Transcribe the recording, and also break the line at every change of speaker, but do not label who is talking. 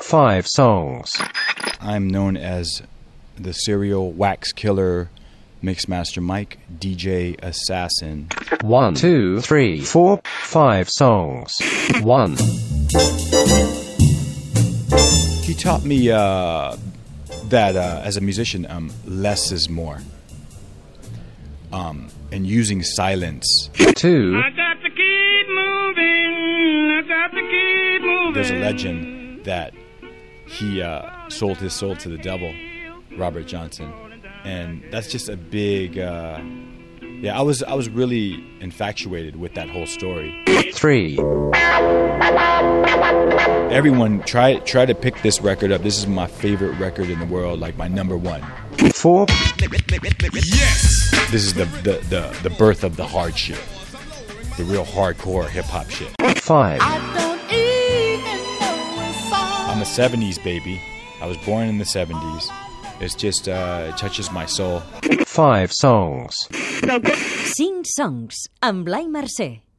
five songs.
I'm known as the serial wax killer, mixmaster Mike, DJ assassin.
One, two, three, four, five songs. One,
He taught me uh, that uh, as a musician, um, less is more. Um, and using silence.
two,
I got to keep moving. I got to keep moving.
There's a legend that he uh, sold his soul to the devil, Robert Johnson, and that's just a big. Uh, yeah, I was I was really infatuated with that whole story.
three,
Everyone, try try to pick this record up. This is my favorite record in the world, like my number one.
four,
This is the the, the, the birth of the hard shit, the real hardcore hip hop shit.
five,
I don't even know a song.
I'm a '70s baby. I was born in the '70s. It's just uh, it touches my soul.
five songs.
Cinc songs amb Blai Mercè.